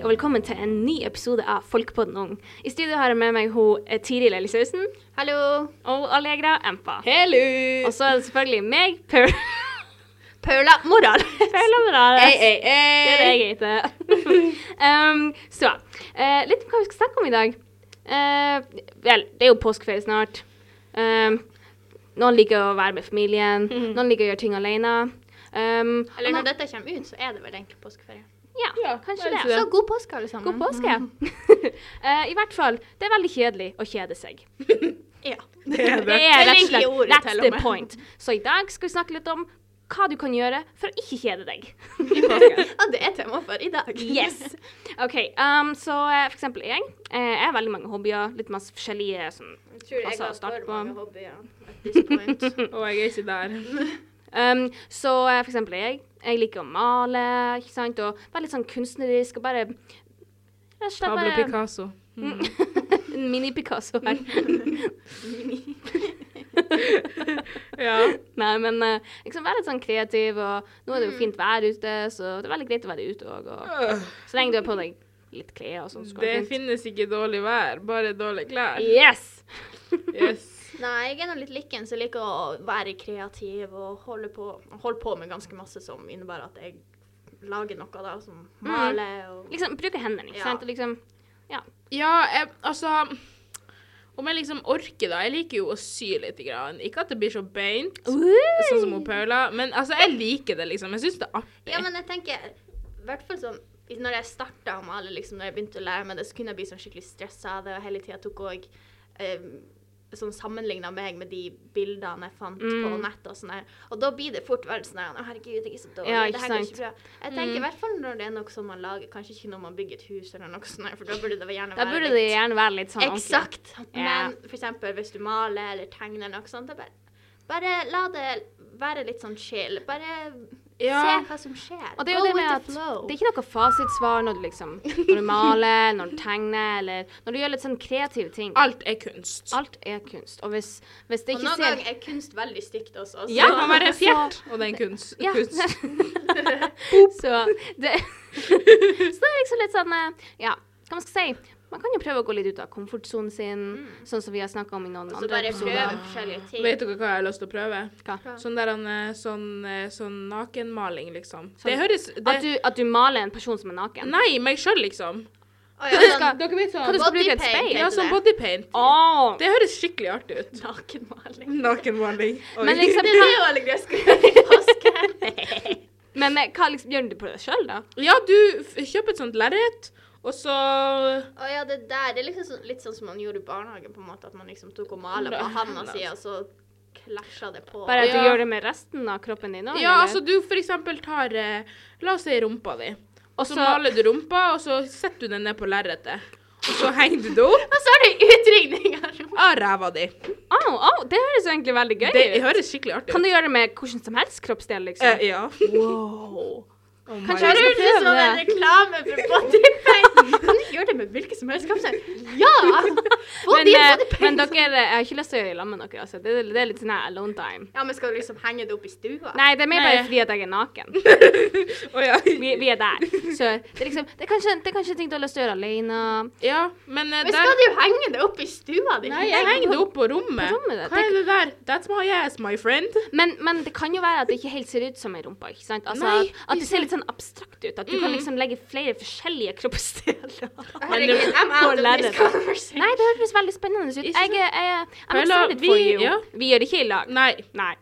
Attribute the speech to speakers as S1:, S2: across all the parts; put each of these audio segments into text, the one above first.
S1: og velkommen til en ny episode av Folkepodden Ung. I studio har jeg med meg ho, eh, Tiril Elisausen. Hallo. Og Allegra Empa.
S2: Hello!
S1: Og så er det selvfølgelig meg, Paul
S2: Paula Morales.
S1: Paula Morales.
S2: Ei, ei,
S1: Det er det
S2: ei.
S1: jeg heter. um, så eh, litt om hva vi skal snakke om i dag. Eh, vel, det er jo påskeferie snart. Um, noen liker å være med familien,
S2: Mhm.
S1: noen liker å gjøre ting alene. Um, og
S3: Eller når
S1: noen-
S3: dette kommer ut, så er det vel egentlig påskeferie.
S1: ja,
S2: Ja,
S1: kanskje
S2: det er
S1: det.
S2: ikke
S3: Så god påske, alle sammen. Mm.
S1: God påske. Eh, I hvert fall, det er veldig kjedelig å kjede seg.
S3: Ja.
S2: Det er
S1: Det
S2: det.
S1: er rett og
S3: egentlig
S1: slett
S3: ordet
S1: That's
S3: til og
S1: the
S3: med.
S1: point. Så i dag skal vi snakke litt om hva du kan gjøre for å ikke kjede deg.
S3: Ja, det er tema for i dag.
S1: Yes! OK, um, så eh, for eksempel jeg. eh, Jeg har veldig mange hobbyer. Litt masse forskjellige sånn
S3: Jeg tror
S1: Altså, start på-
S3: hobbyer at this point.
S2: Og jeg er ikke der.
S1: um, Så eh, for eksempel jeg. Jeg liker å male, ikke sant. Og være litt sånn kunstnerisk og bare Rett og slett
S2: Pablo
S1: bare
S2: Picasso. Mm.
S1: En mini-Picasso her.
S2: Ja.
S1: Nei, men eh, liksom være litt sånn kreativ, og nå er det jo fint vær ute, så det er veldig greit å være ute òg. Og
S2: Øh,
S1: så lenge du har på deg litt klær og sånn, så går
S2: Det
S1: det fint.
S2: finnes ikke dårlig vær, bare dårlige klær.
S1: Yes!
S2: Yes.
S3: Nei, jeg er nå litt liken som liker å være kreativ og holde på, holde på med ganske masse som innebærer at jeg lager noe da, som maler og
S1: Liksom bruke hendene, ikke
S3: Ja.
S1: sant? Og liksom
S2: Ja, jeg, altså Om jeg liksom orker, da. Jeg liker jo å sy litt. Grann. Ikke at det blir så beint, sånn som hun Paula, men altså, jeg liker det, liksom. Jeg syns det er artig.
S3: Ja, men jeg tenker, i hvert fall sånn, i- når jeg startet å male, liksom, når jeg begynte å lære meg det, så kunne jeg bli sånn skikkelig stresset av det, og hele tiden tok jeg eh, sånn sammenlignet meg med de bildene jeg fant på
S1: Mm.
S3: nettet og sånn der. Og da blir det fort veldig sånn der, å herregud, jeg er så dårlig,
S1: Ja, ikke
S3: det her
S1: sant.
S3: går
S1: Mm.
S3: ikke bra. Jeg tenker i hvert fall når det er noe som man lager, kanskje ikke når man bygger et hus eller noe sånt der, for da burde det gjerne
S1: Da
S3: være
S1: burde det gjerne være litt sånn ordentlig.
S3: Eksakt.
S1: Ja.
S3: Men for eksempel hvis du maler eller tegner noe sånt, da bare, bare la det være litt sånn chill. Bare
S2: Ja.
S3: se hva som skjer.
S1: Og det er jo det med at det er ikke noe fasitsvar når du liksom Når du maler, når du tegner, eller når du gjør litt sånn kreative ting.
S2: Alt er kunst.
S1: Alt er kunst. Og hvis, hvis det
S3: Og
S1: ikke
S3: noen
S1: ser
S3: ganger er kunst veldig stygt også. Så.
S1: Ja,
S2: det kan være
S1: så-
S2: fjert, og det er en kunst.
S1: Ja.
S2: kunst.
S1: Så det Så det er liksom litt sånn eh, Ja, hva man skal si? Man kan jo prøve å gå litt ut av komfortsonen sin, sånn som vi har snakka om i noen
S3: Mm. Så
S1: andre
S3: bare prøve
S1: episoder.
S3: forskjellige ting.
S2: Vet dere hva jeg har lyst til å prøve?
S1: Hva?
S2: Sånn der han, eh, sånn, eh, sånn nakenmaling, liksom. Det høres
S1: At
S2: det,
S1: du, at du maler en person som er naken.
S2: Nei, meg sjøl, liksom.
S3: Å, ja,
S1: Hva du
S3: sånn
S1: skal-
S2: Dere vet
S1: Hva du
S2: sånn
S1: skal bruke et
S3: Bodypaint,
S1: speil?
S2: Ja,
S3: heter
S2: sånn
S3: det?
S2: bodypaint.
S1: Åh!
S2: Det høres skikkelig artig ut.
S3: nakenmaling.
S2: Nakenmaling. Oi.
S1: Men liksom,
S3: Det er jo alle greier skulle påske.
S1: men eh, hva liksom, gjør du på det sjøl, da?
S2: Ja, du f- kjøper et sånt lerret, og så
S3: Å ja, det der det er liksom sånn, litt sånn som man gjorde i barnehagen, på en måte. At man liksom tok og malet på handa si, og så klasja det på.
S1: Bare at du
S2: Ja.
S1: gjør det med resten av kroppen din òg?
S2: Ja, altså du for eksempel tar eh, La oss si rumpa di. Og så
S1: Også-
S2: maler du rumpa, og så setter du den ned på lerretet. Og så henger du det opp
S3: Og så er det utringning av rommet.
S2: av ræva di.
S1: Au, au, det høres jo egentlig veldig gøy
S2: Det
S1: ut.
S2: høres skikkelig artig
S1: Kan
S2: ut.
S1: du gjøre det med hvordan som helst kroppsdel, liksom?
S2: Eh, ja. Wow. Oh my
S1: Kanskje jeg
S2: God.
S1: skal
S3: Høres ut som
S1: prøve
S3: en
S1: det.
S3: reklame for bodypaint. Kan du gjøre det med hvilken som helst kapsel? Ja!
S1: Men,
S3: Body,
S1: eh, men
S3: bodypaint.
S1: dere, jeg har ikke lyst til å gjøre det sammen med dere. Altså. Det, er- det er litt sånn her alone time.
S3: Ja, men skal du liksom henge det opp i stua?
S1: Nei, det er mer bare
S2: Nei.
S1: fordi at jeg er naken.
S2: Å, ja.
S1: Vi, vi er der. Så det er, liksom, det, er kanskje, det er kanskje ting du har lyst til å gjøre alene.
S2: ja, men eh,
S3: Men
S2: der
S3: skal du henge det opp i stua di?
S2: Nei, jeg henger det opp på rommet.
S1: På rommet,
S2: Hva er det der? That's my ass, my friend.
S1: Men, men det kan jo være at det ikke helt ser ut som ei rumpe. ikke sant? Altså,
S2: Nei,
S1: at, at det ser litt sånn abstrakt ut. At du kan liksom legge flere forskjellige kroppsdeler.
S3: Herregud, I'm
S1: På
S3: out of
S1: lerretet.
S3: this conversation.
S1: Nei, det høres veldig spennende ut. Jeg,
S2: Ikke
S1: jeg, jeg, I'm
S2: Paula,
S1: excited for
S2: vi-
S1: you.
S2: ja.
S1: Vi gjør det ikke i lag.
S2: Nei.
S1: Nei.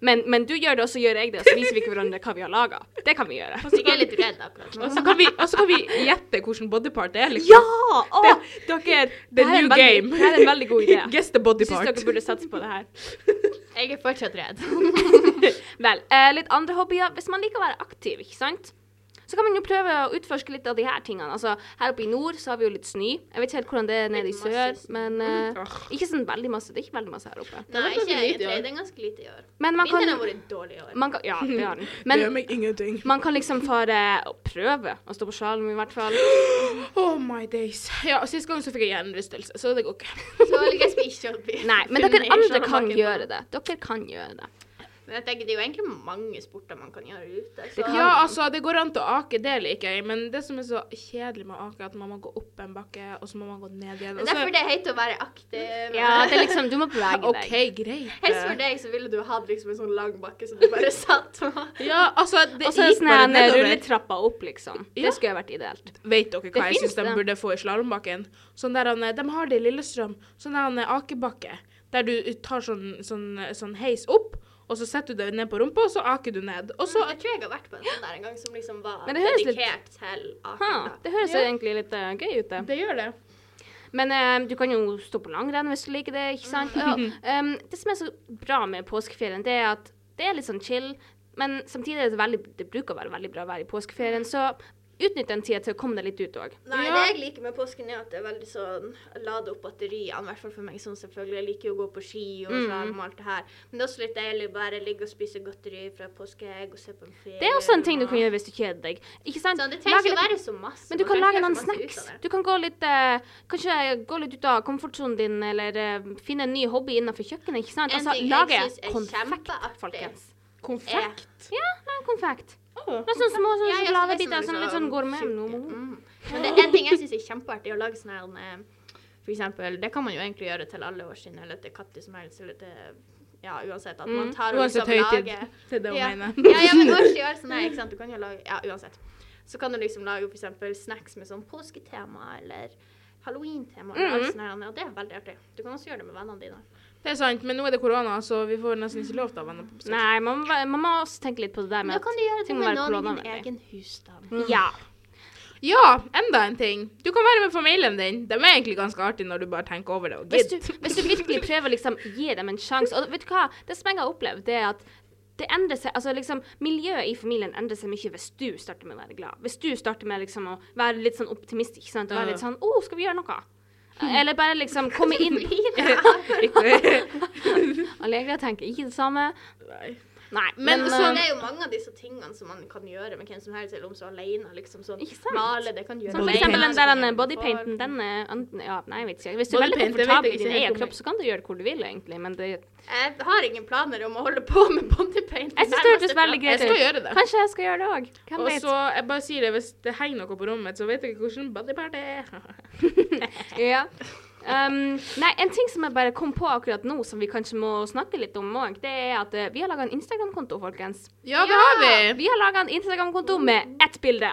S1: Men, men du gjør det, og så gjør jeg det, og så viser vi ikke hverandre hva vi har laga. Det kan vi gjøre.
S3: Jeg er litt redd akkurat nå.
S2: Og så kan vi, og så kan vi gjette hvilken bodypart det er, liksom.
S1: Ja! Å, dere det
S2: The
S1: her er en
S2: new
S1: veldig-
S2: game.
S1: Det her er en veldig god idé.
S2: Guess the
S1: Jeg syns
S2: bodypart.
S1: dere burde satse på det her.
S3: Jeg er fortsatt redd.
S1: Vel, eh, litt andre hobbyer. Hvis man liker å være aktiv, ikke sant? Så kan man jo prøve å utforske litt av de her tingene. Altså, her oppe i nord så har vi jo litt snø. Jeg vet ikke helt hvordan det er nede i
S3: Litt masse
S1: sør,
S3: snø.
S1: men eh,
S2: Åh.
S1: ikke sånn veldig masse. Det er ikke veldig masse her oppe.
S3: Nei,
S2: ganske
S3: ikke
S2: lite i
S3: egentlig.
S2: år.
S3: Det er ganske lite i år.
S1: Men man
S3: Vinteren har
S1: kan,
S3: vært dårlig i år.
S1: man kan Ja, det har den.
S2: det
S1: Men
S2: gjør meg ingenting.
S1: man kan liksom fare og prøve å stå på sjalen, i hvert fall.
S2: Oh my days. Ja, Sist gang så fikk jeg hjernerystelse, så det går ikke.
S3: Så jeg skal ikke opp i
S1: Nei, men dere
S3: Nei,
S1: andre
S3: selv om
S1: kan
S3: man
S1: gjøre det. Dere kan gjøre det.
S3: Men jeg tenker det er jo egentlig mange sporter man kan gjøre ute. Så.
S2: Ja, altså, det går an til å ake, det liker jeg, men det som er så kjedelig med å ake, er at man må gå opp en bakke, og så må man gå ned
S3: Det
S2: igjen. og
S3: er
S2: så-
S3: derfor det er høyt å være aktiv.
S1: Ja, det er liksom Du må bevege deg.
S2: OK, greit.
S3: Helst for deg så ville du hatt liksom en sånn lang bakke som du bare satt på.
S2: Ja, altså, det
S1: Og så er det
S2: gikk
S1: sånn
S2: bare
S1: her, eh,
S2: nedover.
S1: rulletrappa opp, liksom.
S2: Ja.
S1: Det skulle vært ideelt.
S2: Vet dere hva jeg
S1: finnes
S2: syns de
S1: det.
S2: burde få i slalåmbakken? Sånn der han, De har det i Lillestrøm. Sånn der han akebakke. Der du tar sånn, sånn, sånn heis opp, og så setter du deg ned på rumpa, og så aker du ned. Og så
S3: jeg tror jeg har vært på en sånn der en gang som liksom var
S1: Men det høres litt-
S3: dedikert til
S1: Ha,
S3: aking. da.
S1: det høres
S2: Ja.
S1: egentlig litt eh, gøy ut, det.
S2: Det gjør det.
S1: Men eh, du kan jo stå på langrenn hvis du liker det, ikke sant? Ja, em, det som er så bra med påskeferien, det er at det er litt sånn chill, men samtidig er det veldig, det bruker å være veldig bra vær i påskeferien, så utnytt den tida til å komme deg litt ut òg.
S3: Nei,
S2: Ja.
S3: Det jeg liker med påsken, er at det er veldig sånn lade opp batteriene. I hvert fall for meg som selvfølgelig jeg liker jo å gå på ski og
S1: Mm.
S3: slalåm og alt det her. Men det er også litt deilig å bare ligge og spise godteri fra påskeegg og se på en film.
S1: Det er også en ting du
S3: og-
S1: kan gjøre hvis du kjeder deg. Ikke sant?
S3: Sånn, det trenger
S1: Lage
S3: ikke å
S1: litt-
S3: være så masse.
S1: Men du
S3: man
S1: kan
S3: ikke
S1: lage
S3: gjøre
S1: noen
S3: så masse ut
S1: snacks.
S3: av det.
S1: Du kan gå litt, eh, kanskje gå litt ut av komfortsonen din, eller eh, finne en ny hobby innenfor kjøkkenet. ikke sant?
S3: En
S1: Altså,
S3: ting jeg
S1: lage
S3: synes er
S1: konfekt,
S3: kjempeartig.
S1: folkens.
S2: Konfekt.
S1: Ja, en konfekt.
S2: Å.
S1: Noen sånne små sånne
S3: Ja, ja, så det er
S1: sjokoladebiter,
S3: sånn
S1: sånn litt
S3: liksom
S1: sånn gourmet.
S3: tjukke.
S1: noe-
S3: Mm. Men det er en ting jeg syns er kjempeartig, å lage sånn her eh, For eksempel, det kan man jo egentlig gjøre til alle årssinn, eller til katter som helst, eller til Ja, uansett. At man
S1: Mm.
S3: tar og
S2: Uansett
S3: liksom
S2: høytid.
S3: lager
S2: Det er det hun
S3: ja.
S2: mener.
S3: Ja, ja, men årstid er sånn her, ikke sant. Du kan jo lage Ja, uansett. Så kan du liksom lage for eksempel snacks med sånn påsketema, eller Halloween-tema, eller alt
S1: Mhm.
S3: sånt her, og det er veldig artig. Du kan også gjøre det med vennene dine.
S2: Det er sant, men nå er det korona, så vi får nesten ikke lov til å ha venner på besøk.
S1: Nei, man, må være- man må også tenke litt på det der
S3: Men
S1: med
S3: da kan du
S1: ting
S3: gjøre det
S1: må være
S3: med noen i din
S1: koronavennlig.
S3: egen husstand.
S1: at Ja.
S2: Ja, enda en ting. Du kan være med familien din. De er egentlig ganske artige når du bare tenker over det og
S1: Hvis
S2: gitt.
S1: du, hvis du virkelig prøver å liksom, gi dem en sjanse Og vet du hva? Det som jeg har opplevd, det er at det endrer seg, altså liksom, Miljøet i familien endrer seg mye hvis du starter med å være glad. Hvis du starter med liksom, å være litt sånn optimist. ikke sant? Være litt sånn 'Å, skal vi gjøre noe?' Eller bare liksom komme inn Allegra tenker ikke det samme.
S2: Nei.
S1: Nei,
S2: Men sånn,
S1: men,
S3: Men,
S2: så-
S1: eh,
S3: det er jo mange av disse tingene som man kan gjøre med hvem som helst, eller om så alene. Liksom sånn
S1: Ikke sant?
S3: male, det kan gjøre
S1: Som for
S2: Bodypaint.
S1: eksempel den
S3: alene,
S1: der
S3: kan
S1: den eh,
S3: gjøre
S1: bodypainten,
S3: for-
S1: den er enten- Ja, nei, jeg vet ikke. Hvis du er veldig
S2: Bodypaint, det vet jeg
S1: komfortabel i
S2: ikke
S1: din
S2: helt
S1: egen
S2: om
S1: kropp, så kan du gjøre hvor du vil, egentlig, men det
S3: Jeg har ingen planer om å holde på med bodypaint.
S1: Jeg synes det
S3: nærmeste
S1: hørtes veldig
S3: framtid.
S1: greit
S2: Jeg skal gjøre det.
S1: Kanskje jeg skal gjøre det òg. Hvem
S2: Og
S1: vet?
S2: så, jeg bare sier det, hvis det henger noe på rommet, så vet dere hvordan bodypart det er.
S1: Ja. Um, nei, en ting som jeg bare kom på akkurat nå, som vi kanskje må snakke litt om òg, det er at eh, vi har laga en Instagram-konto, folkens.
S2: Ja, det har vi!
S1: Vi har laga en Instagram-konto med ett bilde.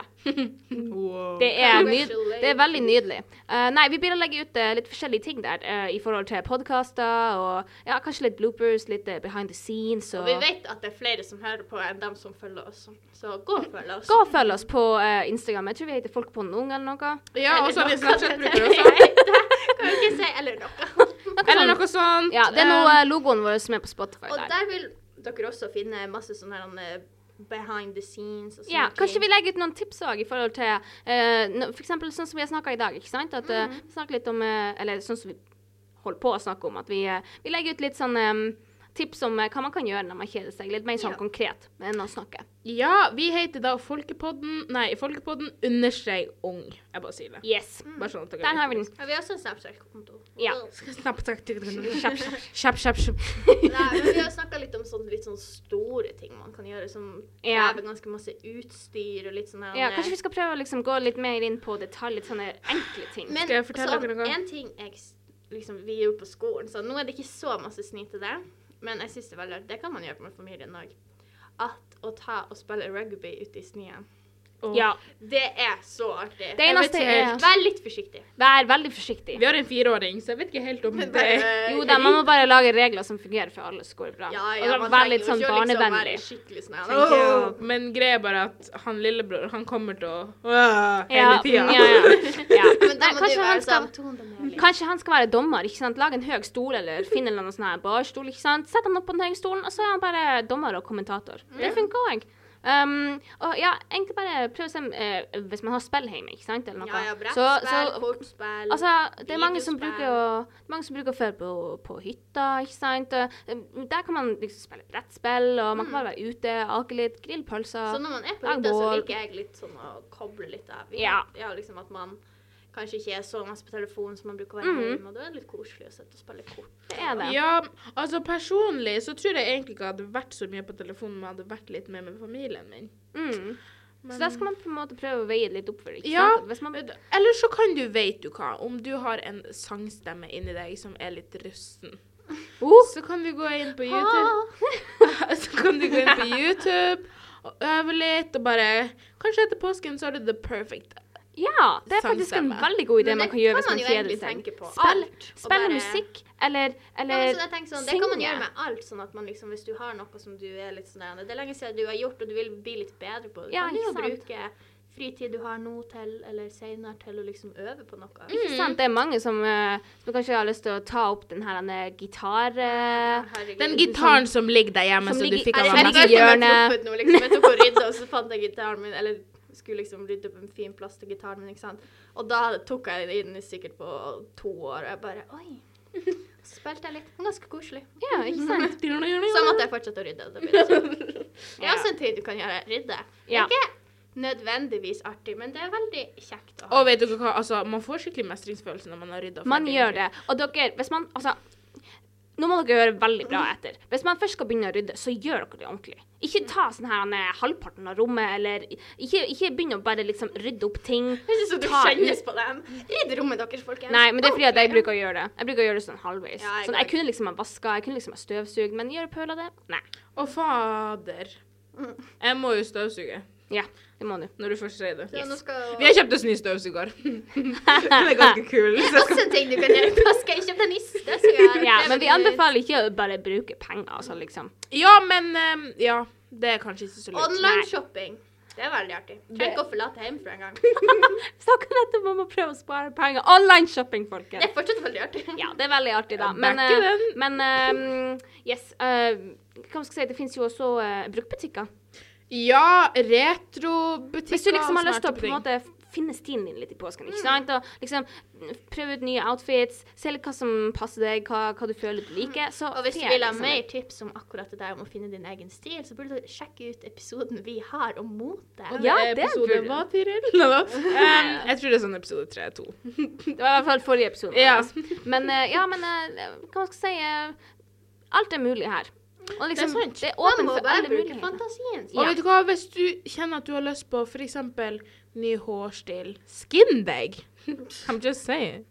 S2: Wow.
S1: Det er, nyd det er veldig nydelig. Eh, nei, vi begynner å legge ut eh, litt forskjellige ting der, eh, i forhold til podkaster og ja, kanskje litt bloopers, litt eh, behind the scenes
S3: Og
S1: og
S3: vi vet at det er flere som hører på enn dem som følger oss. Så gå og følg oss.
S1: Gå og følg oss på eh, Instagram. Jeg tror vi heter Folk på noen eller noe.
S2: Ja, og så har vi en
S3: Eller
S2: Snapchat-bruker også.
S3: noe. Kan vi ikke si eller noe.
S2: Eller noe sånt.
S1: Ja, Det er nå
S2: Eh,
S1: eh, logoen vår som er på Spotify
S3: Og
S1: der.
S3: der vil dere også finne masse sånne her, eh, behind the scenes og sånne
S1: Ja, kanskje
S3: ting.
S1: vi legger ut noen tips òg i forhold til eh, no, for eksempel sånn som vi har snakka i dag, ikke sant? At eh,
S3: Mm.
S1: vi snakker litt om eh, Eller sånn som vi holder på å snakke om, at vi, eh, vi legger ut litt sånn em, tips om eh, hva man kan gjøre når man kjeder seg. Litt mer sånn
S3: Ja.
S1: konkret enn å snakke.
S2: Ja, vi heter da Folkepodden Nei, Folkepodden understreg ung. Jeg bare sier det.
S1: Yes.
S3: Mm.
S2: Bare sånn at dere
S1: Der har vi den.
S3: Ja, vi har også en Snapchat-konto.
S1: Ja.
S2: Snapchat.
S1: Kjapp, kjapp.
S2: Kjapp, kjapp, kjapp.
S3: Nei, men vi har snakka litt om sånn, litt sånn store ting man kan gjøre, som
S1: Ja.
S3: krever ganske masse utstyr og litt sånn her
S1: Ja, kanskje vi skal prøve å liksom gå litt mer inn på detalj, litt sånne enkle ting.
S3: Men
S2: Skal jeg fortelle
S3: sånn,
S2: dere noe?
S3: En ting jeg, s- liksom, vi gjorde på skolen, så nå er det ikke så masse sni til det, men jeg syns det er veldig artig. Det kan man gjøre med familien òg. At å ta og spille rugby ute i snøen.
S1: ja.
S3: Det er så artig.
S1: Det eneste
S2: ikke
S1: er
S2: helt.
S3: Vær litt forsiktig.
S1: Vær veldig forsiktig.
S2: Vi har en fireåring, så jeg vet ikke helt om det
S1: Jo da, man må bare lage regler som fungerer for alle, så går det bra.
S3: ja, ja,
S1: Og
S3: man
S1: vær
S3: trenger
S1: litt
S3: jo
S1: sånn
S3: ikke å liksom være
S1: barnevennlig.
S3: skikkelig
S2: Tenker jeg
S3: sånn,
S2: at- Men greia er bare at han lillebror, han kommer til å øh, hele
S1: Ja,
S2: tida.
S1: mm, Ja, ja. ja.
S3: Men
S1: Nei,
S3: da må
S1: kanskje
S3: du
S1: han
S3: være
S1: skal-
S3: sånn toneangivende.
S1: Kanskje han skal være dommer, ikke sant? Lag en høy stol, eller finn en eller annen sånn her barstol, ikke sant? Sett han opp på den høye stolen, og så er han bare dommer og kommentator.
S3: Mm.
S1: Det funker òg. Um, og ja, egentlig bare prøv å se eh, hvis man har spill hjemme, ikke sant, eller noe.
S3: Ja, ja,
S1: Så-
S3: brettspill,
S1: så-
S3: kortspill
S1: Altså, det er mange som
S3: videospill.
S1: bruker å, mange som bruker å føre på, på hytta, ikke sant. Eh, Der kan man liksom spille brettspill, og man kan
S3: Mm.
S1: bare være ute, ake litt, grille pølser.
S3: Sånn- Så når man er på
S1: Lag
S3: hytta, så
S1: bål.
S3: liker jeg litt sånn å koble litt av.
S1: Ja.
S3: ja liksom at man kanskje ikke er så masse på telefonen som man bruker å være
S1: Mhm.
S3: hjemme, og da er det litt koselig å sitte og spille kort.
S1: Det er det.
S2: Ja, altså personlig så tror jeg egentlig ikke jeg hadde vært så mye på telefonen, men jeg hadde vært litt mer med familien min.
S1: Mm.
S2: Men-
S1: Så da skal man på en måte prøve å veie det litt opp for det. Ikke
S2: Ja.
S1: sant? At Hvis man,
S2: Eller så kan du, vet du hva, om du har en sangstemme inni deg som er litt rusten,
S1: oh,
S2: så kan du gå inn på YouTube,
S3: Ah,
S2: så kan du gå inn på YouTube og øve litt og bare Kanskje etter påsken så har du the perfect
S1: ja, det er faktisk en
S2: Sangstemme.
S1: veldig god idé
S3: Sånn Men
S1: man
S3: det
S1: kan gjøre
S3: kan
S1: hvis man
S3: man jo egentlig
S1: kjeder seg.
S3: tenke på.
S1: Spill,
S3: Alt, og
S1: spill
S3: bare-
S1: musikk, eller,
S3: Ja, men
S1: eller
S3: sånn, jeg tenker sånn, det kan man
S1: synge.
S3: gjøre med alt, sånn at man liksom, hvis du har noe som du er litt sånn der, Det er lenge siden du har gjort, og du vil bli litt bedre på det.
S1: Ja,
S3: kan du jo
S1: ikke
S3: bruke fritid du har nå til, eller senere til, å liksom øve på noe.
S1: Ikke sant? Det er mange som, eh, som kanskje har lyst til å ta opp den her denne gitar... eh,
S3: Herregud.
S2: Den gitaren som ligger der hjemme,
S1: Som
S2: som,
S1: ligger-
S2: du fikk
S1: er det den
S3: Jeg
S2: av mamma.
S1: ligger
S3: vet ikke
S1: i
S3: om jeg har
S1: hjørnet.
S3: truffet noe, sånn liksom. Jeg tok og rydda, og så fant jeg gitaren min, eller skulle liksom rydde opp en fin plass til gitaren min, ikke sant. Og da tok jeg den sikkert på to år, og jeg bare, oi. Så spilte jeg litt, Det var ganske koselig.
S1: Ja, ikke sant?
S3: Så måtte jeg fortsette å rydde. og Det blir sånn. Det er
S1: Ja.
S3: også en ting du kan gjøre. Rydde.
S1: Ja.
S3: Ikke nødvendigvis artig, men det er veldig kjekt å ha.
S2: Og vet dere hva, altså, man får skikkelig mestringsfølelse når man har rydda
S1: Man gjør det. Og dere, hvis man Altså, nå må dere høre veldig bra etter. Hvis man først skal begynne å rydde, så gjør dere det ordentlig. Ikke ta sånn her eh, halvparten av rommet, eller ikke, ikke begynne å bare liksom rydde opp ting.
S3: Det er ikke så du
S1: Ta
S3: kjennes på dem. Rydd rommet deres, folkens.
S1: Nei, men det er fordi at jeg bruker å gjøre det. Jeg bruker å gjøre det sånn halvveis.
S3: Ja, jeg
S1: sånn, jeg
S3: går.
S1: kunne liksom ha vaska, jeg kunne liksom ha støvsugd, men gjør Paula det? Nei.
S2: Å, fader.
S3: Mm.
S2: Jeg må jo støvsuge,
S1: Ja, det må du.
S2: når du først sier det.
S3: Så nå skal...
S2: Vi har kjøpt oss ny støvsuger. Den er ganske kul. Så jeg skal...
S3: Også en ting du kan gjøre. Da skal jeg kjøpe en niste. det skal jeg gjøre.
S1: Ja,
S3: Det
S1: men vi
S3: blir-
S1: anbefaler ikke å bare bruke penger, altså, liksom.
S2: Ja, men ehm, Ja, det er kanskje ikke så lurt.
S3: Online shopping. Det er veldig artig. Trenger ikke å forlate hjem for en gang. Det
S1: Snakker nettopp om å prøve å spare penger. Online shopping, folkens.
S3: er fortsatt veldig artig.
S1: Ja, det er veldig artig, da.
S2: Jeg
S1: Men,
S2: backer
S1: eh,
S2: den.
S1: men eh, yes. eh, hva skal jeg si, det finnes jo også eh, brukbutikker.
S2: Ja, retrobutikker
S1: Hvis du liksom har lyst til å
S2: smarte
S1: på en måte finne stilen din litt i påsken,
S3: Mm.
S1: ikke sant? Og liksom prøve ut nye outfits, se litt hva som passer deg, hva, hva du føler du liker. Så
S3: Og hvis du
S1: fer,
S3: vil ha
S1: liksom.
S3: mer tips om akkurat det der om å finne din egen stil, så burde du sjekke ut episoden vi har om mote.
S2: ting.
S1: Ja,
S2: er
S1: det
S2: episode
S1: burde du.
S2: hva, Tiril? Nå da. Ehm, jeg tror det er sånn episode 3-2.
S1: Det var i hvert fall forrige episode.
S2: Ja.
S1: Men eh, ja, men eh, hva skal jeg si eh, Alt er mulig her. Og liksom,
S2: sant.
S1: det er
S3: Man
S1: åpent
S3: må
S1: for
S3: bare
S1: alle
S3: bruke
S1: muligheter.
S3: fantasien.
S2: Og vet du hva, hvis du kjenner at du har lyst på for eksempel ny hårstil, skin deg. I'm just saying.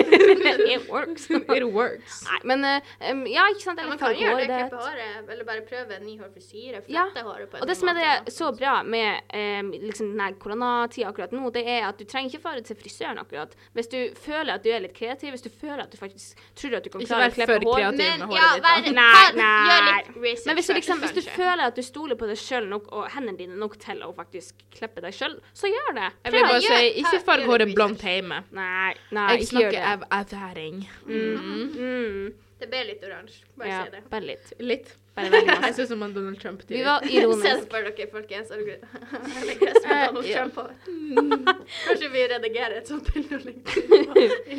S1: It works. Nei,
S2: It works.
S1: men eh, em, Ja, ikke sant?
S3: Ja,
S1: Eller
S3: man kan
S1: farge
S3: gjøre det,
S1: håret.
S3: klippe håret, eller bare prøve en ny hårfrisyre, flette
S1: Ja,
S3: håret på en
S1: Og det
S3: ny
S1: som er
S3: måte.
S1: det så bra med eh, liksom denne koronatida akkurat nå, det er at du trenger ikke fare til frisøren akkurat. Hvis du føler at du er litt kreativ, hvis du føler at du faktisk tror at du kan
S2: Ikke
S1: klare
S2: vær
S1: å klippe
S2: for
S1: hår
S2: kreativ.
S3: Men
S2: med
S3: ja,
S2: håret ditt, da.
S3: vær,
S1: Nei,
S3: ta-
S1: nei.
S3: gjør litt research.
S1: Men hvis du, liksom, hvis du
S3: kanskje.
S1: føler at du stoler på deg sjøl nok, og hendene dine nok til å faktisk klippe deg sjøl, så gjør det.
S2: Jeg vil bare
S3: gjør-
S2: si,
S3: ta-
S2: ikke farg
S3: gjør
S2: håret
S3: research.
S2: blondt hjemme.
S1: Nei, nei,
S2: Jeg
S1: ikke gjør
S2: snakker
S1: det.
S2: av erfaring.
S1: Mm, mm,
S3: Det ble litt oransje, bare
S1: ja,
S3: si det.
S1: bare litt.
S2: Litt.
S1: Bare veldig masse.
S2: Jeg ser ut som en Donald Trump.
S1: Vi
S2: til.
S1: var
S3: Se
S1: ironiske.
S3: det for dere, folkens. Å, Gud. Jeg legger det som Donald
S2: Eh, ja.
S3: Trump over.
S1: Mm.
S3: Kanskje vi redigerer et sånt bilde og legger det på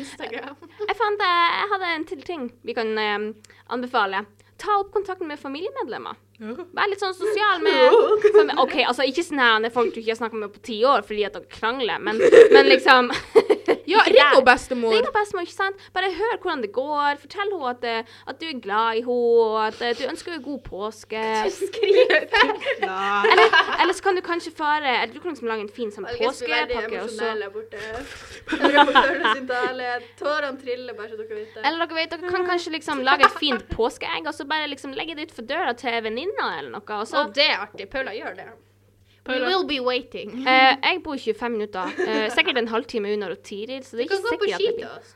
S3: Instagram.
S1: Jeg fant eh, Jeg hadde en til ting vi kan eh, anbefale. Ta opp kontakten med familiemedlemmer. Vær litt sånn sosial med som, OK, altså ikke sånn her det er folk du ikke har snakka med på ti år fordi at dere krangler, men, men liksom
S2: Ja,
S1: Ikke
S2: ring
S1: der.
S2: og bestemor.
S1: Ring og bestemor, ikke sant? Bare hør hvordan det går. Fortell henne at, eh, at du er glad i henne, og at eh, du ønsker henne god påske. Eller, eller så kan du kanskje fare eller Du kan liksom lage en fin sånn
S3: Algus blir veldig
S1: påskepakke. og så-
S3: emosjonell der borte. Reportørene sin tale. Tårene triller, bare så dere vet det.
S1: Eller dere vet, dere kan kanskje
S3: Mm.
S1: liksom lage et fint påskeegg og så bare liksom legge det ut for døra til venninna eller noe. Og så,
S3: Og det er artig. Paula gjør det. We
S2: Paula.
S3: will be waiting.
S1: eh, jeg bor 25 minutter, eh, sikkert en halvtime unna og Tiril, så det
S3: Du
S1: er
S3: kan
S1: ikke
S3: gå på
S1: sikkert at
S3: ski
S1: det
S3: til
S1: blir
S3: oss.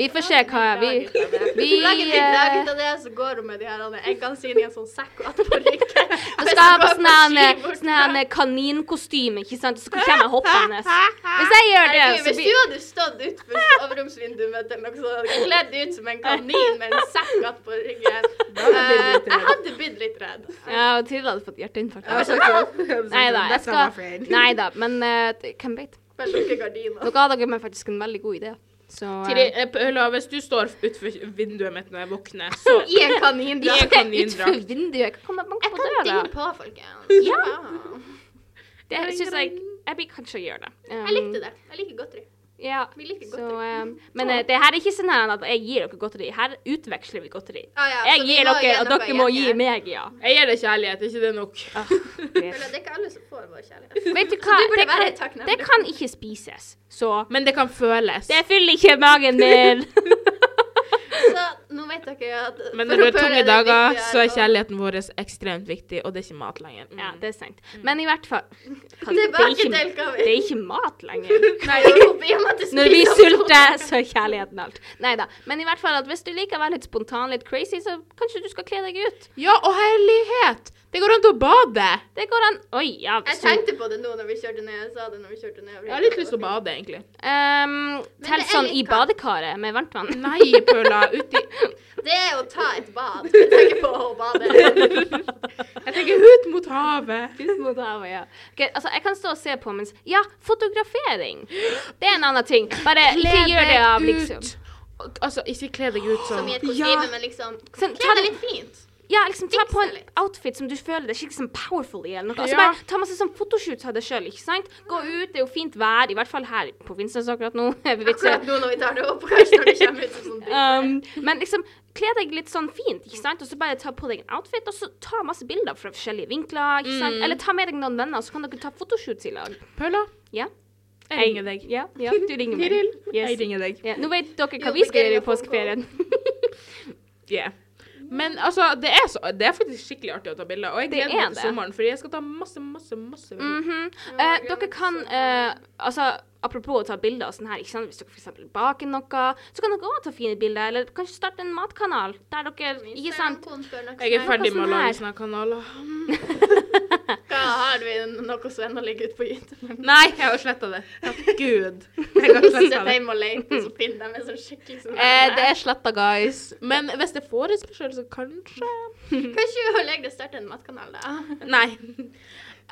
S1: Vi får se hva vi Vi
S3: Hun lager en dag ut
S1: eh,
S3: av det, så går hun med de her andre eggene sine i en sånn sekk og attpå ryggen.
S1: vi skal ha på sånn her- sånn her kaninkostyme, ikke sant? Så kommer jeg hoppende. Hvis jeg gjør det,
S3: Herregud,
S1: så
S3: Hvis du
S1: blir
S3: hadde stått utenfor soveromsvinduet mitt eller noe sånt, og kledd ut som en kanin med en sekk attpå ryggen eh, Jeg hadde blitt litt redd.
S1: Ja, og Tiril hadde fått hjerteinfarkt. Nei da, jeg
S2: That's not my
S1: skal
S2: friend.
S1: Nei da, men eh, det- hvem vet?
S3: Bare lukke gardina.
S1: Dere ga dere meg faktisk en veldig god idé. Så eh,
S2: Tiri, eh, Paula, hvis du står utenfor vinduet mitt når jeg våkner, så
S3: I en kanindrakt.
S1: Utenfor
S2: kanindrakt.
S1: vinduet. Jeg kan komme og banke
S3: Jeg
S1: på
S3: kan
S1: døra.
S3: dinge på, folkens.
S1: Det syns jeg jeg vil kanskje gjøre det. Um,
S3: Jeg likte det. Jeg liker godteri.
S1: Ja,
S3: Vi liker
S1: så,
S3: godteri.
S1: um, men eh, det her er ikke sånn her at jeg gir dere godteri. Her utveksler vi godteri.
S3: Ah, ja, så
S1: Jeg
S3: vi
S1: gir
S3: må
S1: dere, og
S3: gjennom
S1: dere
S3: en
S1: må
S3: gjeng
S1: gi
S3: her.
S1: meg, ja.
S2: Jeg gir deg kjærlighet, er ikke det nok?
S1: Ah,
S3: Eller,
S1: greit.
S3: det er ikke alle som får vår kjærlighet.
S1: Vet du hva,
S3: burde
S1: det
S3: være
S1: kan,
S3: takknemlig.
S1: det kan ikke spises, så
S2: Men det kan føles.
S1: det fyller ikke magen min.
S3: Så nå vet dere at
S2: Men
S3: for
S2: når du
S3: å
S2: har tunge
S3: føle det
S2: dager,
S3: viktigere
S2: så er
S3: å-
S2: kjærligheten vår ekstremt viktig, og det er ikke mat lenger. Mm.
S1: Ja, det er sant. Men i hvert fall hva- det er,
S3: Tilbake
S1: ikke,
S3: til hva vi-
S1: det er ikke mat lenger.
S3: Nei, jo, i og med at det
S1: Når vi
S3: spiser opp
S1: sulter, så er kjærligheten alt. Nei da. Men i hvert fall at hvis du liker å være litt spontan, litt crazy, så kanskje du skal kle deg ut.
S2: Ja, og herlighet! Det går an til å bade.
S1: Det går an Oi, ja.
S3: Jeg
S1: hvis du-
S3: tenkte på det nå når vi kjørte ned. Jeg sa det når vi kjørte ned.
S2: Jeg har litt lyst til å bade, egentlig.
S1: Ehm,
S3: det
S1: Tell
S3: er
S1: sånn i
S3: litt kaldt.
S1: badekaret med varmt vann.
S2: Nei, Paula. Uti
S3: Det er å ta et bad. Jeg tenker på å bade.
S2: Jeg tenker ut mot havet.
S1: Ut mot havet, ja. Ok, altså, jeg kan stå og se på mens Ja, fotografering! Det er en annen ting. Bare ikke gjør det av liksom
S2: ut. Altså, ikke kle deg ut
S3: Som
S2: sånn.
S3: i et kostyme,
S2: Ja.
S3: men liksom
S1: Sånn, ta
S3: Kle
S1: det-
S3: deg litt fint.
S1: Ja, liksom ta
S3: Fiks
S1: på
S3: deg
S1: en
S3: litt.
S1: outfit som du føler deg skikkelig sånn powerful i, eller noe. Altså
S2: Ja.
S1: bare ta masse sånn fotoshoots av deg sjøl, ikke sant? Gå ut, det er jo fint vær, i hvert fall her på Finnsnes akkurat nå. Vi vet ikke.
S3: Akkurat nå når vi tar det opp, kanskje når det kommer ut som sånn dritt.
S1: Um, men liksom, kle deg litt sånn fint, ikke sant? Og så bare ta på deg en outfit, og så ta masse bilder fra forskjellige vinkler, ikke
S3: Mm.
S1: sant? Eller ta med deg noen venner, så kan dere ta fotoshoots i lag.
S2: Paula,
S1: Ja?
S2: jeg ringer deg.
S1: Ja, ja, du ringer meg.
S2: Tiril,
S1: Yes.
S2: jeg ringer deg.
S1: Ja, nå vet dere hva
S3: Jo,
S1: vi skal gjøre
S3: begynner
S1: i
S3: å få
S1: påskeferien.
S2: Yeah. Men altså, det er, så, det er faktisk skikkelig artig å ta bilder, og jeg
S1: Det
S2: gleder meg
S1: er
S2: til
S1: det.
S2: sommeren, fordi jeg skal ta masse, masse, masse bilder.
S1: Mhm. Eh,
S3: Ja, jeg gleder
S1: dere
S3: meg
S1: kan
S3: så
S1: eh, Altså, apropos å ta bilder og sånn her, ikke sant? hvis dere f.eks. baker noe, så kan dere òg ta fine bilder, eller kanskje starte en matkanal der dere Ikke sant?
S2: Jeg er ferdig
S1: noe sånn
S2: med å
S1: her.
S2: lage sånne kanaler.
S3: Hva har vi noe som ennå ligger ute på YouTube?
S2: Nei, jeg har sletta det. Takk Gud. Jeg har sletta
S3: Sitter
S2: det.
S3: hjemme og leter, så finner de en sånn skikkelig sånn
S2: Eh, det er sletta, guys. Men hvis jeg får en spørsmål, så kanskje
S3: Kanskje hun legger det starte en matkanal, da?
S2: Nei.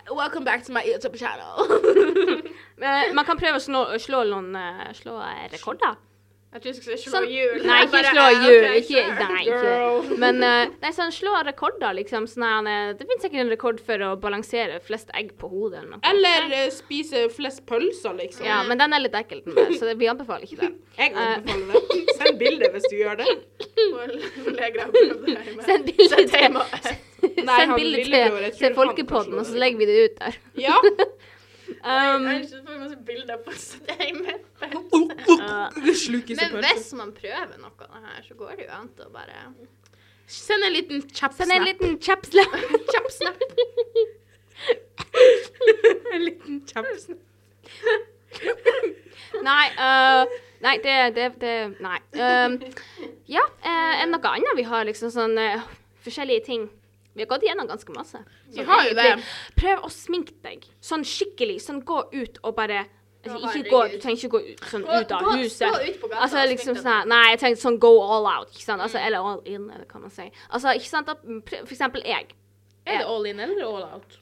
S2: Welcome back to my YouTube channel.
S1: Eh, man kan prøve å slå, slå noen eh, slå eh, rekorder.
S3: Jeg tror du skulle si slå
S1: Sånn-
S3: hjul.
S1: Nei,
S3: Jeg
S1: ikke
S3: bare,
S1: slå
S3: eh, ok,
S1: hjul. ikke,
S3: sure.
S1: nei, ikke. Men eh, nei, sånn, slå rekorder, liksom. Sånn, her, eh, det finnes sikkert en rekord for å balansere flest egg på hodet eller noe.
S2: Eller eh, spise flest pølser, liksom.
S1: Ja, men den er litt ekkel, den der, så det, vi anbefaler ikke det.
S2: Jeg anbefaler det. Send bilde hvis du gjør det.
S3: Hun legger opp det her med-
S1: Send bilde
S3: Sett
S1: til-
S3: hjemme og-
S2: Nei,
S1: Send
S2: han
S1: bilde
S2: ville gjøre
S1: til,
S2: et
S1: til
S2: kjølefann,
S1: Folkepodden,
S2: kanskje,
S1: og så
S2: eller?
S1: legger vi det ut der.
S2: Ja.
S1: Um,
S3: Jeg får masse bilder på sitt hjemme.
S2: Slukes
S3: Men
S2: i pølse.
S3: hvis man prøver noe av det her, så går det jo an til å bare
S2: Send en liten kjapp
S1: send en
S2: snap.
S1: liten kjapp slap.
S3: Kjapp snap.
S2: En liten kjapp snap.
S1: Nei, øh, nei, det, det, det Nei. Um, ja, eh, er det noe annet vi har, liksom sånn eh, forskjellige ting? Vi har gått igjennom ganske masse.
S2: Vi har jo det.
S1: Prøv å sminke deg sånn skikkelig. Sånn gå ut og bare altså,
S3: Å,
S1: ikke gå, Du
S3: herregud.
S1: trenger ikke gå ut, sånn
S3: Gå-
S1: ut av
S3: gå-
S1: huset.
S3: stå ut på gata
S1: altså,
S3: og
S1: liksom
S3: smink deg. Mm.
S1: sånn her- Nei, jeg tenkte sånn go all out, ikke sant? Altså, eller all in, eller hva man sier. Altså, ikke sant? Da, prøv- for eksempel jeg.
S2: Er det all in eller all out?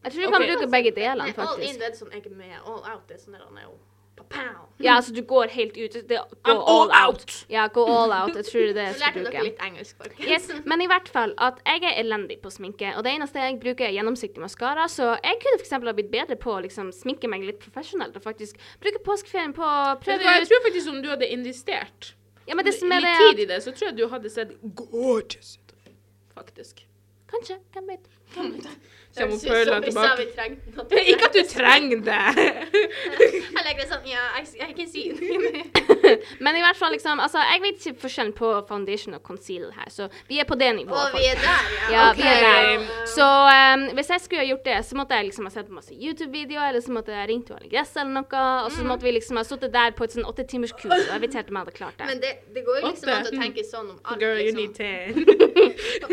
S1: Jeg tror du kan
S2: Ok.
S1: bruke begge delene,
S3: Nei, all in
S1: faktisk.
S3: det er sånn jeg er med, all out det er sånn der han er jo pa-pow.
S1: Ja, altså, du går helt ut. Det, go
S2: I'm all out.
S1: Ja, go all out. Jeg tror det er det jeg
S3: Så
S1: skal
S3: lærte dere
S1: bruke.
S3: litt engelsk, folkens.
S1: Yes, men i hvert fall at jeg er elendig på sminke, og det eneste jeg bruker er gjennomsiktig maskara, så jeg kunne f.eks. ha blitt bedre på å liksom, sminke meg litt profesjonelt og faktisk bruke påskeferien på å
S2: Vet du hva,
S1: prøve
S2: Jeg
S1: ut
S2: tror faktisk om du hadde investert
S1: Ja, men det som er
S2: litt
S1: det
S2: tid
S1: at
S2: i det, så tror jeg du hadde sett gorgeous ut. Faktisk.
S1: Kanskje, hvem vet.
S2: Så jeg må
S3: Så- så
S2: føle
S3: vi sa
S2: tilbake.
S3: vi trengte noe.
S2: Ikke at du trenger det.
S3: Jeg legger det sånn, ja, I, I can see.
S1: Men i hvert fall, liksom Altså, jeg vet ikke forskjellen på foundation og conceal her, så vi er på det nivået.
S3: Og vi er der, ja.
S1: Ja,
S3: Ok.
S1: vi er der. Så ehm, hvis jeg skulle ha gjort det, så måtte jeg liksom ha sett på masse YouTube-videoer, eller så måtte jeg ringt Anne Gress eller noe, og
S2: Mm.
S1: så måtte vi liksom ha sittet der på et sånn åtte timers kurs, og jeg vet ikke helt om jeg hadde klart det.
S3: Men det, det går jo liksom
S2: Åtte.
S3: an å tenke sånn om alt.
S2: Girl, you
S3: Liksom.
S2: need ten.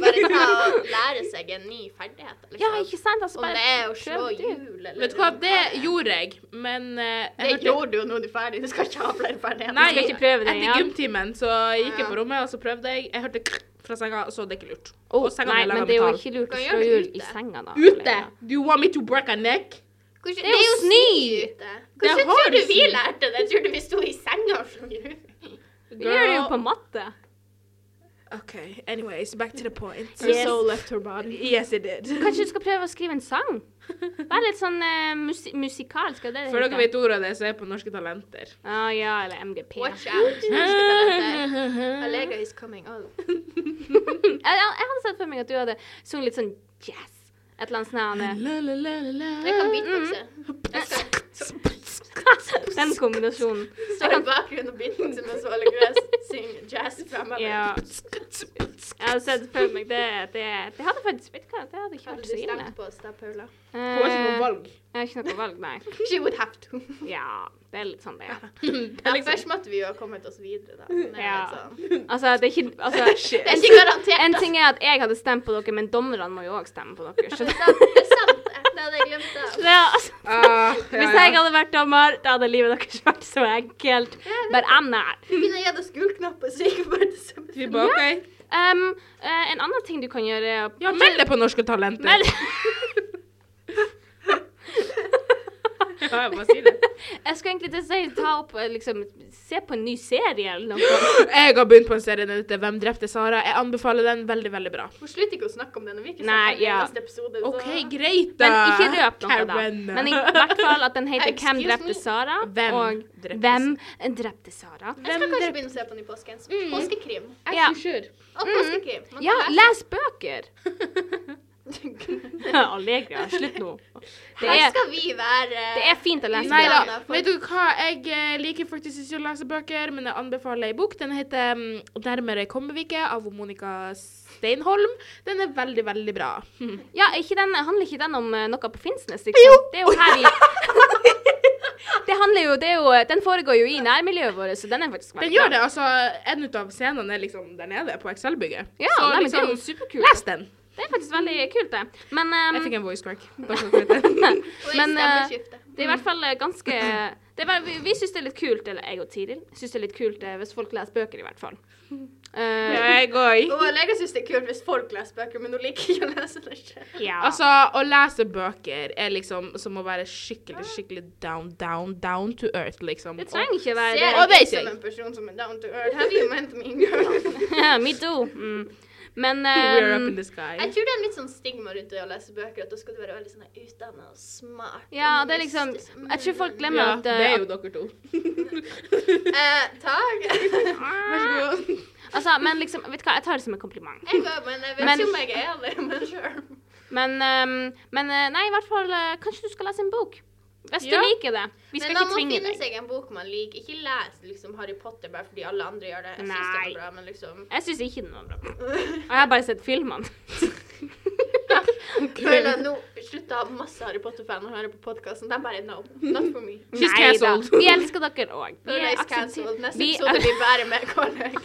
S3: Bare ta og lære seg en ny ferdighet. Liksom.
S1: Ja, ikke sant? Altså,
S3: Om
S1: bare
S3: det er å slå
S1: prøv det ut.
S3: hjul eller
S2: Vet du hva, det gjorde jeg, men eh,
S3: Det
S2: jeg hørte-
S3: gjorde du jo nå du er ferdig. Du skal ikke ha flere ferdigheter.
S2: Nei,
S1: skal ikke prøve det
S2: etter
S1: igjen.
S2: gymtimen så gikk jeg
S3: Ja.
S2: på rommet, og så prøvde jeg. Jeg hørte krr fra senga, og så det er ikke lurt.
S1: Å,
S2: og senga
S1: nei,
S2: ble
S1: men
S2: laget
S1: det er jo
S2: av
S1: ikke lurt
S3: Du
S1: å
S3: kan
S1: slå
S3: gjøre det
S1: hjul i
S3: ute.
S1: senga, da.
S2: Ute!
S1: eller?
S2: Do you want me to break a neck?
S3: Hvordan-
S1: Det er jo snø!
S3: ute.
S2: Det
S3: Hvordan
S2: har
S3: tror du
S2: du
S3: vi
S2: snø.
S3: lærte det? Tror du vi sto i senga og slo hjul?
S1: Vi gjør det jo på matte.
S2: OK, anyways, back to the point.
S3: Her
S1: Yes.
S3: soul left her body.
S2: Yes, it did.
S1: Kanskje du skal prøve å skrive en sang? Vær litt sånn eh, musi musikalsk. er det det
S2: For dere
S1: heter?
S2: vet ordet av det, så er jeg på Norske Talenter.
S1: Ah, ja, eller MGP. Jeg,
S3: Watch out. Allega is coming. Oh.
S1: jeg, jeg hadde sett for meg at du hadde sunget litt sånn jazz. Et eller annet sånn her,
S3: Jeg kan beatboxe. Jeg skal
S1: eh, Den kombinasjonen.
S3: stå i bakgrunnen og beatboxe mens hun holder gress, synge jazz framover.
S1: Ja. Jeg hadde sett for meg det. Det, det hadde faktisk Vet du hva, det hadde ikke
S3: Hadde
S1: vært
S3: du
S1: så ille.
S3: stemt på oss da, Paula?
S2: Hun har ikke noe
S1: Eh,
S2: valg.
S1: Jeg har ikke noe valg, nei.
S3: She would have to.
S1: Ja, det er litt sånn det er.
S3: Ja, først måtte vi jo ha kommet oss videre, da. Men det er
S1: Ja.
S3: litt sånn.
S1: Altså, det er ikke altså,
S3: Det er ikke garantert. altså.
S1: En ting er at jeg hadde stemt på dere, men dommerne må jo òg stemme på dere. Så
S3: Det
S1: det,
S3: er sant, det er sant. Det hadde jeg glemt av.
S1: det, er altså,
S2: Ah, ja,
S1: hvis jeg
S2: ja.
S1: hadde vært dommer, da hadde livet deres vært så enkelt. But I'm not.
S3: Vi kunne gitt oss gullknapper, så gikk vi bare til semifinalen.
S2: Vi bare OK.
S1: Um, eh, en annen ting du kan gjøre er å-
S2: Ja, meld deg på Norske Talenter.
S1: Meld-
S2: Ja, jeg bare sier det.
S1: Jeg skulle egentlig til å si ta opp eh, liksom, Se på en ny serie eller noe.
S2: Jeg har begynt på en serie den heter 'Hvem drepte Sara'. Jeg anbefaler den veldig, veldig bra.
S3: Hun slutter ikke å snakke om det når vi ikke
S1: Nei,
S3: snakker om det i
S1: ja.
S3: neste episode. så-
S2: OK, greit, da.
S1: Altså, Men ikke røp noe, da.
S2: Karen.
S1: Men i hvert fall at den heter 'Hvem
S3: Excuse me.
S1: drepte Sara?'
S2: Hvem
S1: og
S2: drepte
S1: 'Hvem drepte Sara?'
S3: Jeg skal
S2: Hvem
S3: kanskje
S2: drep-
S3: begynne å se på den i påsken.
S2: Mm.
S3: Påskekrim.
S2: Jeg
S1: Ja.
S2: er ikke sure.
S3: Og påskekrim. Man
S1: Mm.
S3: kan
S1: Ja,
S3: lese-
S1: les bøker!
S3: Her
S1: Allegra, slutt nå. Det er,
S3: skal vi være
S1: det er fint å lese
S2: Nei
S3: Neida.
S1: bøker.
S2: da. Vet du hva, jeg eh, liker faktisk ikke å lese bøker, men jeg anbefaler ei bok. Den heter mm, 'Nærmere kommer vi ikke' av Monica Steinholm. Den er veldig, veldig bra. Hm.
S1: Ja, ikke den, handler ikke den om eh, noe på Finnsnes, liksom? Det er jo her i Det handler jo, det er jo Den foregår jo i nærmiljøet vårt, så den er faktisk
S2: Den gjør det, altså. En ut av scenene er liksom der nede, på Excel-bygget.
S1: Ja,
S2: Så
S1: nei, men det
S2: liksom,
S1: er jo superkult.
S2: les den.
S1: Det er faktisk veldig kult, det. Men, ehm,
S2: Jeg fikk en voice crack. Bare så dere vet det.
S1: men
S3: Men
S1: eh, det er i hvert fall eh, ganske det er, vel- Vi, vi syns det er litt kult, eller jeg og Tiril syns det er litt kult eh, hvis folk leser bøker, i hvert fall. Eh,
S2: Jeg går.
S3: Og Lega syns det er kult hvis folk leser bøker, men hun liker ikke å lese det selv.
S1: ja.
S2: Altså, å lese bøker er liksom som å være skikkelig, skikkelig down, down, down to earth, liksom.
S1: det trenger ikke være
S3: Ser
S1: det.
S2: Og
S3: jeg
S2: vet
S3: ikke som
S2: jeg.
S3: en person som er down to earth. Have you meant me, girl?
S1: Me too. Mm. Men
S2: We're up
S1: ehm,
S2: in the sky.
S3: Jeg tror det er en litt sånn stigma rundt det å lese bøker, at da skal du være veldig sånn her utdannet og smart.
S1: Ja,
S3: og
S1: det er liksom
S3: mystisk. Mm.
S1: Jeg tror folk glemmer
S2: Ja,
S1: at
S2: det
S1: eh,
S2: er
S1: at-
S2: jo dere to.
S3: Eh, Takk.
S2: Vær så god.
S1: Altså, men liksom Vet du hva, jeg tar det som en kompliment.
S3: Jeg går, men jeg vet
S1: Men-
S3: ikke om jeg er ærlig, men sure.
S1: Men, ehm, men eh, nei, i hvert fall eh, Kanskje du skal lese en bok? Hvis du
S2: Ja.
S1: liker det. Vi skal
S3: men man
S1: ikke
S3: må
S1: tvinge
S3: finne
S1: deg.
S3: seg en bok man liker. Ikke les liksom, Harry Potter bare fordi alle andre gjør det. Jeg syns det
S1: Nei.
S3: var bra, men liksom
S1: Jeg syns ikke den var bra. Og jeg har bare sett filmene.
S3: Føler at nå Slutt å ha masse Harry Potter-faner her på podkasten. De bare no. Not for me.
S1: Nei
S2: She's
S1: da.
S2: cancelled.
S1: Vi elsker dere òg. Vi
S3: Føler jeg is
S1: aksepterer
S3: cancelled. Neste
S1: vi-
S3: episode blir bare med kollegaer.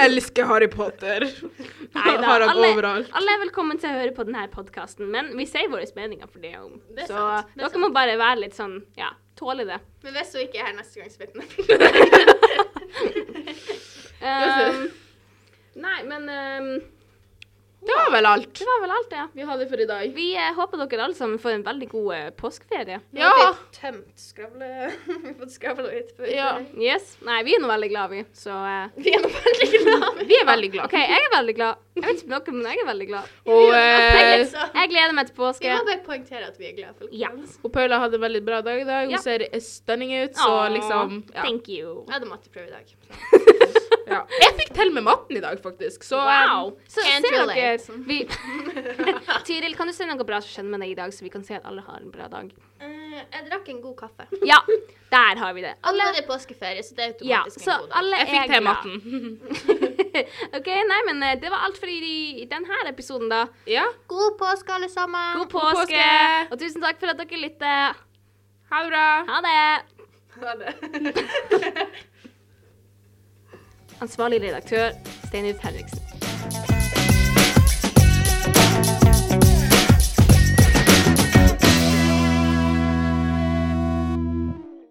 S2: Elsker Harry Potter.
S1: Nei da.
S2: Har han
S1: Alle,
S2: overalt.
S1: alle er velkommen til å høre på denne podkasten, men vi sier våre meninger for det om.
S3: Det er
S1: Så
S3: sant, det er
S1: dere må bare være litt sånn Ja, tåle det.
S3: Men hvis hun ikke er her neste gang, så vet hun
S1: Ehm, nei, men ehm,
S2: Det var vel alt.
S1: det var vel alt, det. Ja.
S2: Vi har det for i dag.
S1: Vi eh, håper dere alle sammen får en veldig god eh, påskeferie.
S3: Nå
S2: Ja.
S3: har vi tømt skravle... Vi har fått skravla ut. for-
S2: Ja.
S1: Yes. Nei, vi er nå veldig glad, vi. Så eh,
S3: Vi er nå veldig glade.
S2: Vi er veldig glad.
S1: OK, jeg er veldig glad. Jeg vet ikke om dere, men jeg er veldig glad.
S2: Og,
S3: Jeg er
S2: eh,
S3: sånn.
S1: Jeg gleder meg til
S3: Vi
S1: påske.
S3: må bare poengtere at vi er glade. folkens.
S1: Ja.
S2: og Paula hadde en veldig bra dag i dag. Hun
S1: Ja.
S2: ser eh, stunning ut, så
S1: Åh,
S2: liksom ja.
S1: Thank you.
S3: Jeg hadde matteprøve i dag.
S2: ja. Jeg fikk til med matten i dag, faktisk. Så eh,
S1: Wow. Så
S3: Can't
S1: ser dere
S3: relate.
S1: vi, Tiril, kan du si noe bra som skjedde med deg i dag, så vi kan se at alle har en bra dag?
S3: Eh, jeg drakk en god kaffe.
S1: Ja, der har vi det.
S3: Alle hadde påskeferie, så det er
S1: Ja,
S3: automatisk
S1: så
S3: en god dag.
S1: alle er
S2: jeg fikk til
S1: glad.
S2: matten.
S1: OK, nei, men eh, det var alt for i i denne episoden, da.
S2: Ja.
S3: God påske, alle sammen.
S1: God
S2: God påske.
S1: påske, og tusen takk for at dere lytter.
S2: Ha det bra.
S1: Ha det.
S3: Ha det.
S1: Ansvarlig redaktør, Steinulf Henriksen.